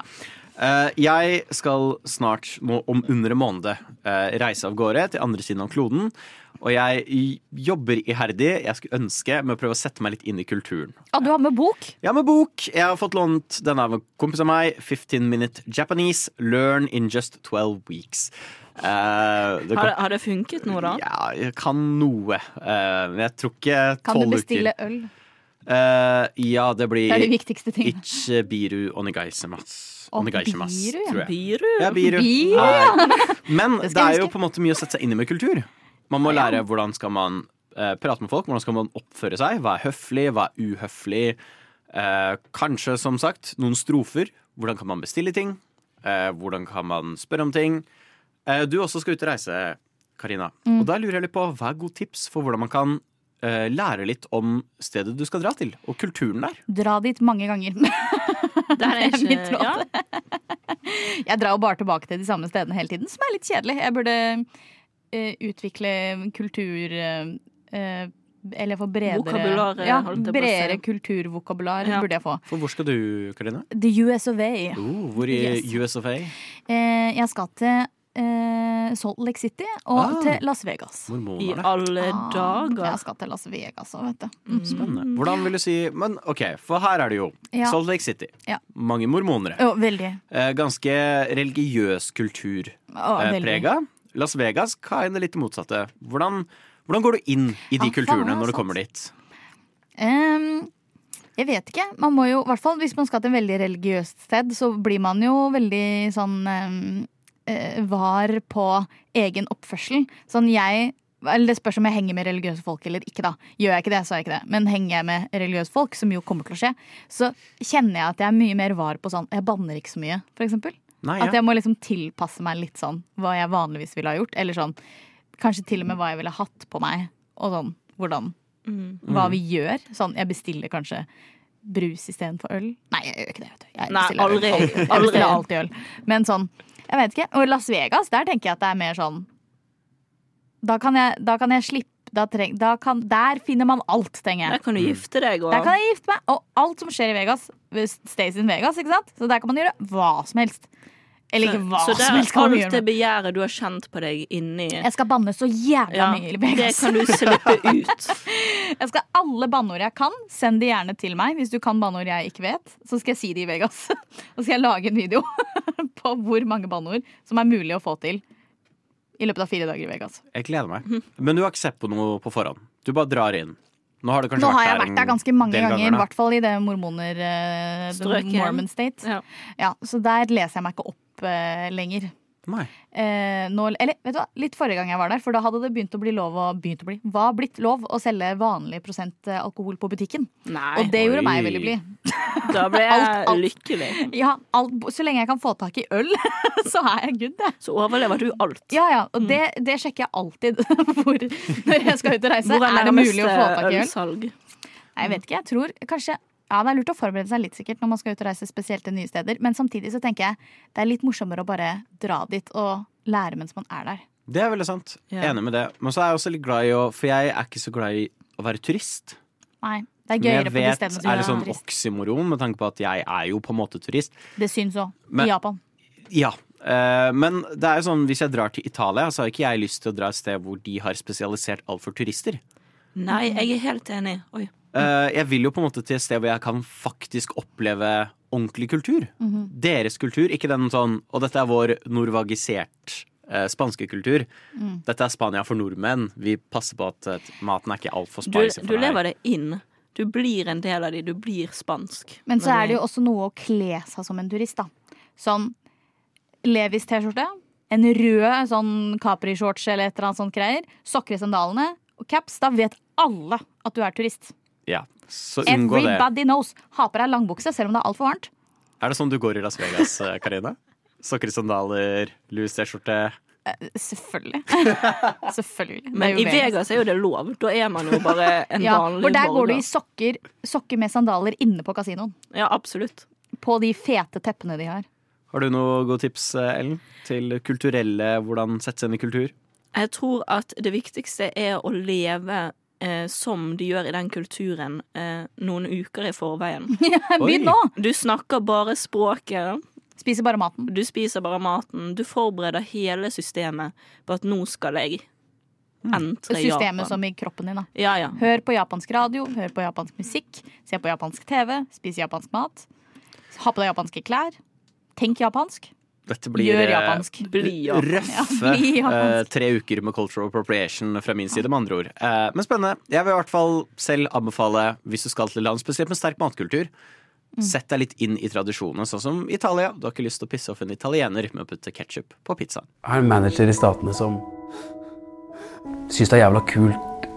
S3: Eh, jeg skal snart, nå om under en måned, eh, reise av gårde til andre siden av kloden. Og jeg i- jobber iherdig, jeg skulle ønske, med å prøve å sette meg litt inn i kulturen.
S8: Å, Ah, du har med bok?
S3: Jeg har med bok. Jeg har fått lånt denne av en kompis av meg. 15 Minute Japanese. Learn in just 12 weeks. Eh, det
S7: Har,
S3: kom,
S7: det- har det funket nå, da?
S3: ja, jeg kan noe. Eh, men jeg tror ikke 12 uker.
S8: Kan du bestille øl?
S3: Eh, ja, det blir
S8: Det er de viktigste tingene.
S3: Ichibiru Onigaisemas.
S8: Å,
S3: Onigaisemas,
S8: Biru, ja.
S3: tror jeg.
S7: Biru?
S3: Ja, Biru.
S8: Biru,
S3: Nei. Men
S8: Det
S3: det,
S8: skal
S3: er
S8: jeg
S3: jo
S8: huske.
S3: på en måte mye å sette seg inn i med kultur. Man må lære hvordan skal man eh, prate med folk, hvordan skal man oppføre seg, hva er høflig, hva er uhøflig. Eh, kanskje, som sagt, noen strofer. Hvordan kan man bestille ting? Eh, hvordan kan man spørre om ting? Eh, du også skal ut og reise, Karina.
S8: Mm.
S3: Og da lurer jeg litt på hva er gode tips for hvordan man kan eh, lære litt om stedet du skal dra til, og kulturen der?
S8: Dra dit mange ganger.
S7: Der er
S8: Det er
S7: ikke
S8: mitt råd.
S7: ja.
S8: Jeg drar jo bare tilbake til de samme stedene hele tiden, som er litt kjedelig. Jeg burde eh, utvikle kultur... eh, eller få bredere,
S7: Vokabular,
S8: ja,
S7: holdt jeg på å
S8: bredere
S7: si.
S8: kulturvokabular
S7: Ja.
S8: burde jeg få.
S3: For hvor skal du, Karina?
S8: The US of A.
S3: Oh, hvor i
S8: Yes.
S3: US of A?
S8: Eh, jeg skal til eh, Salt Lake City og
S3: Ah.
S8: til Las Vegas. Ah,
S7: I
S3: Mormonerne.
S7: alle dager.
S8: Jeg skal til Las Vegas òg, vet du. Mm.
S3: Spennende. Hvordan vil du si Men OK, for her er det jo
S8: Ja.
S3: Salt Lake City.
S8: Ja.
S3: Mange mormonere.
S8: Å, veldig.
S3: Eh, ganske religiøs kultur
S8: Å,
S3: eh,
S8: veldig.
S3: prega. Las Vegas kind of litt det motsatte. Hvordan, hvordan går du inn i de
S8: Ja, Ah, faen, altså.
S3: kulturene når
S8: sant.
S3: du kommer dit?
S8: Ehm, jeg vet ikke. Man må jo, i hvert fall hvis man skal til et veldig religiøst sted, så blir man jo veldig sånn ehm, eh, var på egen oppførsel. Sånn jeg eller Det spørs om jeg henger med religiøse folk eller ikke. da Gjør jeg ikke det, så er jeg ikke det. Men henger jeg med religiøse folk, som jo kommer til å skje, så kjenner jeg at jeg er mye mer var på sånn Jeg banner ikke så mye, for eksempel.
S3: Nei,
S8: At jeg må liksom tilpasse meg litt sånn hva jeg vanligvis ville ha gjort. Eller sånn kanskje til og med hva jeg ville hatt på meg, og sånn hvordan
S7: Mm.
S8: Hva vi gjør. Sånn jeg bestiller kanskje brus istedenfor øl. Nei, jeg gjør ikke det. vet du jeg
S7: Nei,
S8: bestiller
S7: aldri.
S8: Øl. Jeg
S7: Aldri.
S8: bestiller alltid øl. Men sånn, jeg vet ikke. Og Las Vegas, der tenker jeg at det er mer sånn Da kan jeg, da kan jeg slippe da treng, da kan, Der finner man alt, tenker jeg.
S7: Der kan du
S3: Mm.
S7: gifte deg og
S8: Der kan jeg gifte meg. Og alt som skjer i Vegas, stays in Vegas. ikke sant? Så der kan man gjøre hva som helst. Eller ikke hva
S7: Så det
S8: som helst.
S7: er
S8: Kan man
S7: alt
S8: gjøre.
S7: det begjæret du har kjent på deg inni
S8: Jeg skal banne så jævla
S7: ja,
S8: mye i
S7: Det
S8: Vegas.
S7: kan du slippe ut.
S8: Jeg skal ha alle banneord jeg kan. Send de gjerne til meg hvis du kan banneord jeg ikke vet. Så skal jeg si de i Vegas. Og så skal jeg lage en video på hvor mange banneord som er mulig å få til i løpet av fire dager i Vegas.
S3: jeg gleder meg.
S8: Mhm.
S3: Men du har ikke sett på noe på forhånd. Du bare drar inn. Nå har, du kanskje
S8: Nå har jeg
S3: vært
S8: vært der ganske mange
S3: del
S8: ganger,
S3: ganger,
S8: i
S3: da.
S8: hvert fall i det mormoner... eh, the
S7: Strøket.
S8: Mormon state.
S7: Ja.
S8: Ja, så der leser jeg meg ikke opp eh, lenger.
S3: Nei.
S8: Eh, nå, eller vet du hva, litt forrige gang jeg var der, for da hadde det begynt å bli lov å, begynt å bli, var blitt lov å selge vanlig prosent eh, alkohol på butikken.
S7: Nei,
S8: Og det
S3: Oi.
S8: gjorde meg veldig blid.
S7: da ble
S8: alt, alt.
S7: jeg lykkelig.
S8: Ja, alt, så lenge jeg kan få tak i øl, så er jeg good, jeg.
S7: Så overlever du alt.
S8: Ja, ja, og det,
S3: Mm.
S8: det sjekker jeg alltid hvor, når jeg skal ut og reise.
S7: Hvor
S8: Er, det
S7: nærmeste
S8: mulig å få tak i øl?
S7: ølsalg?
S8: Nei, Jeg vet ikke, jeg tror kanskje ja, Det er lurt å forberede seg litt sikkert når man skal ut og reise, spesielt til nye steder. Men samtidig så tenker jeg det er litt morsommere å bare dra dit og lære mens man er der.
S3: Det er veldig sant.
S7: Ja.
S3: Enig med det. Men så er jeg også litt glad i å For jeg er ikke så glad i å være turist.
S8: Nei, Det er
S3: Men jeg
S8: gøyere på de
S3: vet,
S8: stedene
S3: er det sånn
S8: turist.
S3: oksymoron, med tanke på at jeg er jo på en måte turist?
S8: Det syns òg.
S3: Men-
S8: I Japan.
S3: Ja. eh, men det er jo sånn, hvis jeg drar til Italia, så har ikke jeg lyst til å dra et sted hvor de har spesialisert alt for turister.
S7: Nei,
S8: Mm.
S7: jeg er helt enig. Oi.
S3: Eh,
S7: Mm.
S3: jeg vil jo på en måte til et sted hvor jeg kan faktisk oppleve ordentlig kultur.
S7: Mhm.
S3: Deres kultur, ikke den sånn Og dette er vår norvagisert eh, spanske kultur.
S7: Mm.
S3: Dette er Spania for nordmenn. Vi passer på at eh, maten er ikke altfor
S7: Du,
S3: spicy. for
S7: du
S3: deg.
S7: lever det inn. Du blir en del av de, du blir spansk.
S8: Men så er det jo også noe å kle seg som en turist, da. Sånn Levis-T-skjorte, en rød sånn Capri-shorts eller et eller annet sånt greier, sokker i sandalene og caps. Da vet alle at du er turist.
S3: Ja, så unngå det.
S8: Everybody knows. Ha på deg langbukse selv om det er altfor varmt.
S3: Er det sånn du går i Las Vegas, eh, Karina? Sokker, sandaler, lus T-skjorte.
S8: Eh, Selvfølgelig. Selvfølgelig.
S7: Men i Vegas er jo det lov. Da er man jo bare en
S8: ja,
S7: vanlig
S8: For der går
S7: borger.
S8: du i sokker, sokker med sandaler inne på kasinoen.
S7: Ja, absolutt.
S8: På de fete teppene de har.
S3: Har du noe gode tips, eh, Ellen? Til kulturelle, hvordan sette seg inn i kultur?
S7: Jeg tror at det viktigste er å leve eh, som de gjør i den kulturen eh, noen uker i forveien.
S8: Eh, Begynn nå!
S7: Du snakker bare språket.
S8: Spiser bare maten.
S7: Du spiser bare maten. Du forbereder hele systemet på at nå skal jeg entre Japan.
S8: Mm. Systemet som i kroppen din, da.
S7: Ja, ja.
S8: Hør på japansk radio, hør på japansk musikk, se på japansk TV, spis japansk mat. Ha på deg japanske klær. Tenk japansk.
S3: Dette blir
S8: Gjør
S3: eh,
S8: japansk. Bli japansk.
S3: røffe
S8: Ja, bli japansk.
S3: eh, tre uker med cultural appropriation fra min side, med andre ord. Eh, men spennende. Jeg vil i hvert fall selv anbefale, hvis du skal til land, spesielt med sterk matkultur,
S8: Mm.
S3: sett deg litt inn i tradisjonene, sånn som Italia. Du har ikke lyst til å pisse off en italiener med å putte ketsjup på pizzaen.
S12: Jeg er en manager i Statene som syns det er jævla kult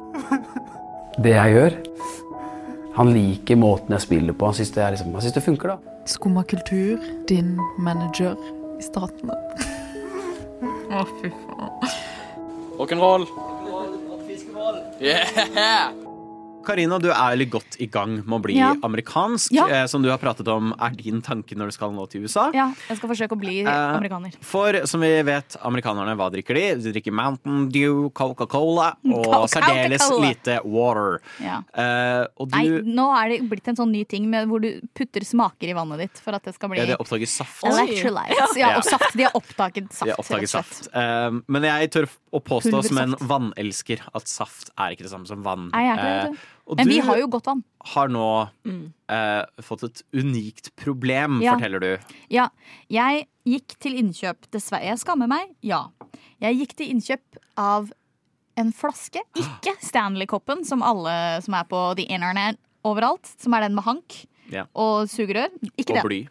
S12: det jeg gjør. Han liker måten jeg spiller på. Han syns det, er liksom, han synes det funker, da.
S10: Skumma kultur, din manager i staten. Å, fy faen.
S6: Rock'n'roll.
S3: Yeah! Karina, du er litt godt i gang med å bli
S8: Ja.
S3: amerikansk.
S8: Ja.
S3: Eh, som du har pratet om, er din tanke når du skal nå til USA.
S8: Ja, jeg skal forsøke å bli
S3: Eh,
S8: amerikaner.
S3: For som vi vet, amerikanerne, hva drikker de? De drikker Mountain Dew, Coca-Cola og
S8: Coca-Cola.
S3: særdeles lite water.
S8: Ja.
S3: Eh, og
S8: Nei,
S3: du
S8: nå er det blitt en sånn ny ting med hvor du putter smaker i vannet ditt for at det skal bli
S3: ja, de har oppdaget saft.
S8: electrolytes. Ja,
S3: Ja.
S8: og saft. De har oppdaget saft.
S3: De har oppdaget
S8: rett og slett.
S3: saft. Eh, men jeg tør å påstå som en
S8: Pulversaft.
S3: vannelsker at saft er ikke det samme som vann.
S8: Nei, jeg er ikke det,
S3: Eh,
S8: vet du.
S3: og
S8: Men vi
S3: du
S8: har jo godt vann.
S3: har nå eh, fått et unikt problem,
S8: Ja.
S3: forteller du.
S8: Ja, jeg gikk til innkjøp, dessverre. Jeg skammer meg, ja. Jeg gikk til innkjøp av en flaske, ikke Stanley-koppen, som alle som er på the internet overalt, som er den med hank
S3: Ja.
S8: og sugerør. Ikke
S3: Og
S8: den.
S3: bly.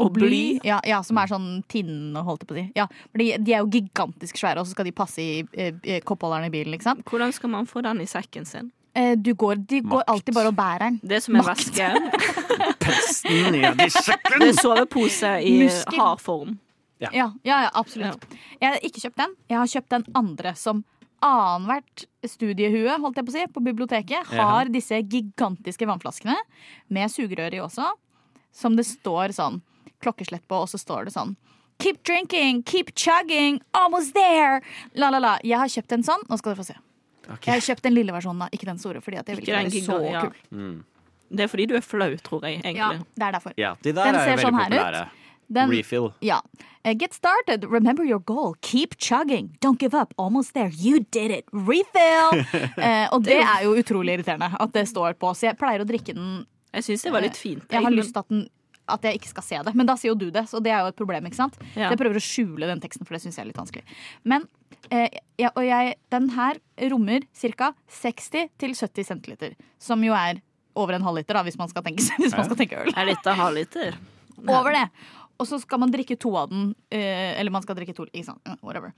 S8: Og bly. Ja, ja, som er sånn tinn og holdt jeg på å si. Ja, for de, de er jo gigantisk svære, og så skal de passe i eh, eh, koppholderen i bilen, ikke sant.
S7: Hvordan skal man få den i sekken sin?
S8: Eh, du går, de går alltid bare og bærer den.
S7: Det er som en
S8: Makt.
S7: væske.
S3: Ned i sekken!
S7: Det er sovepose i
S8: Muskel.
S7: hard form.
S3: Ja.
S8: Ja, ja, ja absolutt. Jeg har ikke kjøpt den. Jeg har kjøpt den andre som annethvert studiehue holdt jeg på å si, på biblioteket
S13: Ja.
S8: har disse gigantiske vannflaskene med sugerør i også, som det står sånn klokkeslett på, og så står det sånn Keep drinking, keep chugging, almost there! La, la, la. Jeg har kjøpt en sånn. Nå skal dere få se. Jeg har kjøpt den lille versjonen, da, ikke den store. Fordi at jeg vil
S7: Ikke
S8: ikke
S7: den
S8: være så
S7: giga- ja.
S8: kul.
S7: Det er fordi du er flau, tror jeg. egentlig.
S8: Ja, det er derfor.
S3: Ja, de der
S8: Den
S3: er jo
S8: ser
S3: veldig
S8: sånn her ut.
S3: populære.
S8: Den-
S3: Refill.
S8: Ja. Eh, Get started, remember your goal, keep chugging, don't give up, almost there, you did it, refill! Eh, og det er jo utrolig irriterende at det står på, så jeg pleier å drikke den
S7: Jeg syns det var litt fint.
S8: Eh, Jeg har
S7: egentlig.
S8: lyst til at, den, at jeg ikke skal se det, men da sier jo du det, så det er jo et problem, ikke sant?
S7: Ja.
S8: Så jeg prøver å skjule den teksten, for det syns jeg er litt vanskelig. Men eh, jeg, og jeg, den her rommer ca. 60-70 centiliter, som jo er over en halvliter, da, hvis man skal tenke, hvis man skal tenke øl.
S7: Er litt eh, av halvliter.
S8: Over det. Og så skal man drikke to av den. eh, eller man skal drikke to, ikke sant. Eh, Whatever.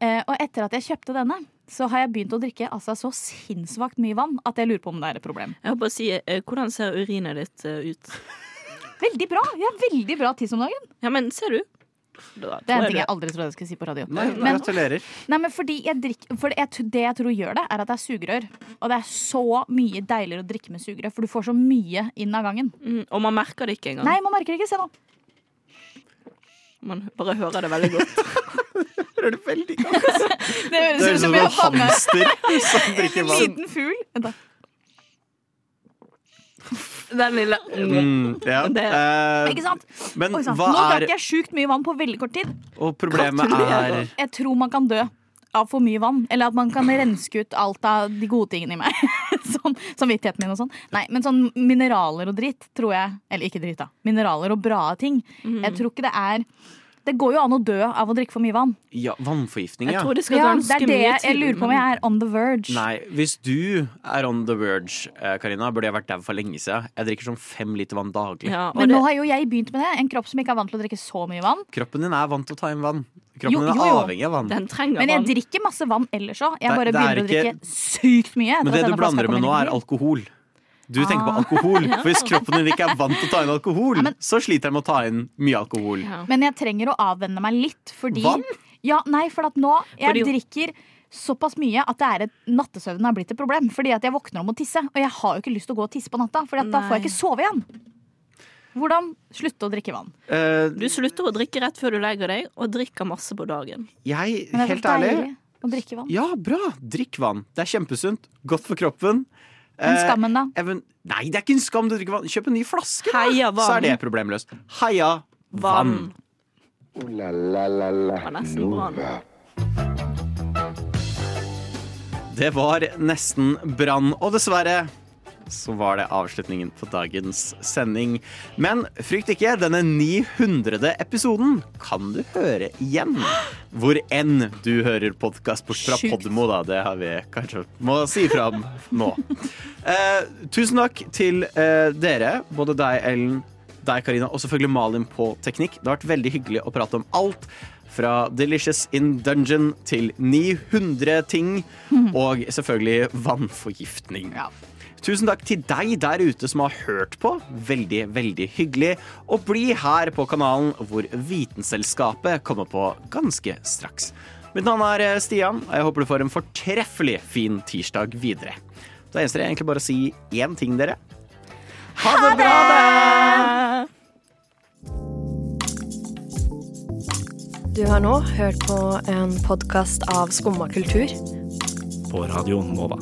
S8: Eh, og etter at jeg kjøpte denne, så har jeg begynt å drikke altså, så sinnssvakt mye vann at jeg lurer på om det er et problem.
S7: Jeg håper å si, eh, Hvordan ser urinet ditt eh, ut?
S8: Veldig bra! Jeg har veldig bra tiss om dagen.
S7: Ja, men ser du?
S8: det
S7: tror
S8: er en
S7: jeg
S8: ting jeg
S7: det.
S8: aldri trodde jeg skulle si på radio.
S3: Nei,
S8: men,
S3: gratulerer.
S8: nei, men fordi jeg drikker, for jeg, tr- Det jeg tror gjør det, er at det er sugerør. Og det er så mye deiligere å drikke med sugerør, for du får så mye inn av gangen.
S7: Mm, og man merker det ikke engang.
S8: Nei, man merker det ikke. Se nå.
S7: Man bare hører det veldig godt.
S8: Det
S7: Det høres ut som en
S8: jeg har fanget-
S7: hamster
S3: som drikker
S8: En
S3: vann.
S8: liten fugl. Vent da.
S7: Den lille
S3: Mm, ja.
S7: Det-
S3: Eh,
S8: Ikke sant?
S3: Men
S8: Oi, sant.
S3: hva
S8: Nå
S3: er
S8: drakk jeg sjukt mye vann på veldig kort tid.
S3: Og problemet er
S8: Jeg tror man kan dø av for mye vann. Eller at man kan renske ut alt av de gode tingene i meg. Sånn, samvittigheten min og sånn. Nei, men sånn mineraler og dritt, tror jeg. Eller ikke dritt, da. Mineraler og bra ting. Jeg tror ikke det er Det går jo an å dø av å drikke for mye vann.
S3: ja, vannforgiftning, ja.
S7: Jeg tror det skal
S8: Ja, det
S7: ganske
S8: er det
S7: mye
S8: jeg, jeg
S7: til,
S8: lurer på om
S7: men-
S8: jeg er on the verge.
S3: Nei, hvis du er on the verge, eh, Karina, burde jeg vært dau for lenge siden. Jeg drikker sånn fem liter vann daglig.
S8: Men nå har jo jeg begynt med det. En kropp som ikke er vant til å drikke så mye vann.
S3: Kroppen din er vant til å ta inn vann. Kroppen
S8: Jo,
S3: din er
S8: jo, jo.
S3: avhengig av vann.
S8: Men jeg drikker masse vann ellers òg.
S3: Det-
S8: Jeg bare
S3: det er
S8: begynner å
S3: ikke-
S8: drikke sykt mye.
S3: Men
S8: etter at
S3: det du
S8: denne flaska
S3: blander
S8: kom
S3: med
S8: inn i
S3: nå, er
S8: livet mitt.
S3: alkohol. Du tenker på
S8: Ah.
S3: alkohol.
S8: Ja.
S3: For hvis kroppen din ikke er vant til å ta inn alkohol, så sliter den med å ta inn mye alkohol.
S8: Men jeg trenger å avvenne meg litt, fordi
S3: Vann?
S8: Ja, nei, for at nå Jeg
S3: Fordi-
S8: drikker såpass mye at det er et, nattesøvnen har blitt et problem. Fordi at jeg våkner om å tisse, og jeg har jo ikke lyst til å gå og tisse på natta. For da får jeg ikke sove igjen. Hvordan slutte å drikke vann?
S3: Eh,
S7: Du slutter å drikke rett før du legger deg, og drikker masse på dagen.
S3: Jeg,
S8: Men det er så
S3: helt ærlig
S8: deilig Å drikke vann.
S3: Ja, bra! Drikk vann. Det er kjempesunt. Godt for kroppen.
S8: Men
S3: Eh,
S8: skammen, da?
S3: even, nei, det er ikke en skam du drikker vann. Kjøp en ny flaske, da!
S7: Heia vann.
S3: Så er det problemløst. Heia vann.
S7: Vann.
S2: Ooh la la la la Nova.
S3: Det var nesten brann, og dessverre så var det avslutningen på dagens sending. Men frykt ikke, denne 900. episoden kan du høre igjen. Hvor enn du hører podkast, bort fra
S6: Sjukt.
S3: Podmo, da. Det har vi kanskje må si fra om nå. Eh, tusen takk til eh, dere, både deg, Ellen, deg, Karina, og selvfølgelig Malin på teknikk. Det har vært veldig hyggelig å prate om alt. Fra Delicious in Dungeon til 900 ting, og selvfølgelig vannforgiftning. Tusen takk til deg der ute som har hørt på. Veldig, veldig hyggelig. Og bli her på kanalen hvor Vitenselskapet kommer på ganske straks. Mitt navn er eh, Stian, og jeg håper du får en fortreffelig fin tirsdag videre. Da gjenstår det egentlig bare å si én ting, dere. Ha det bra!
S13: Du har nå hørt på en podkast av Skumma kultur.
S14: På Radio Nova.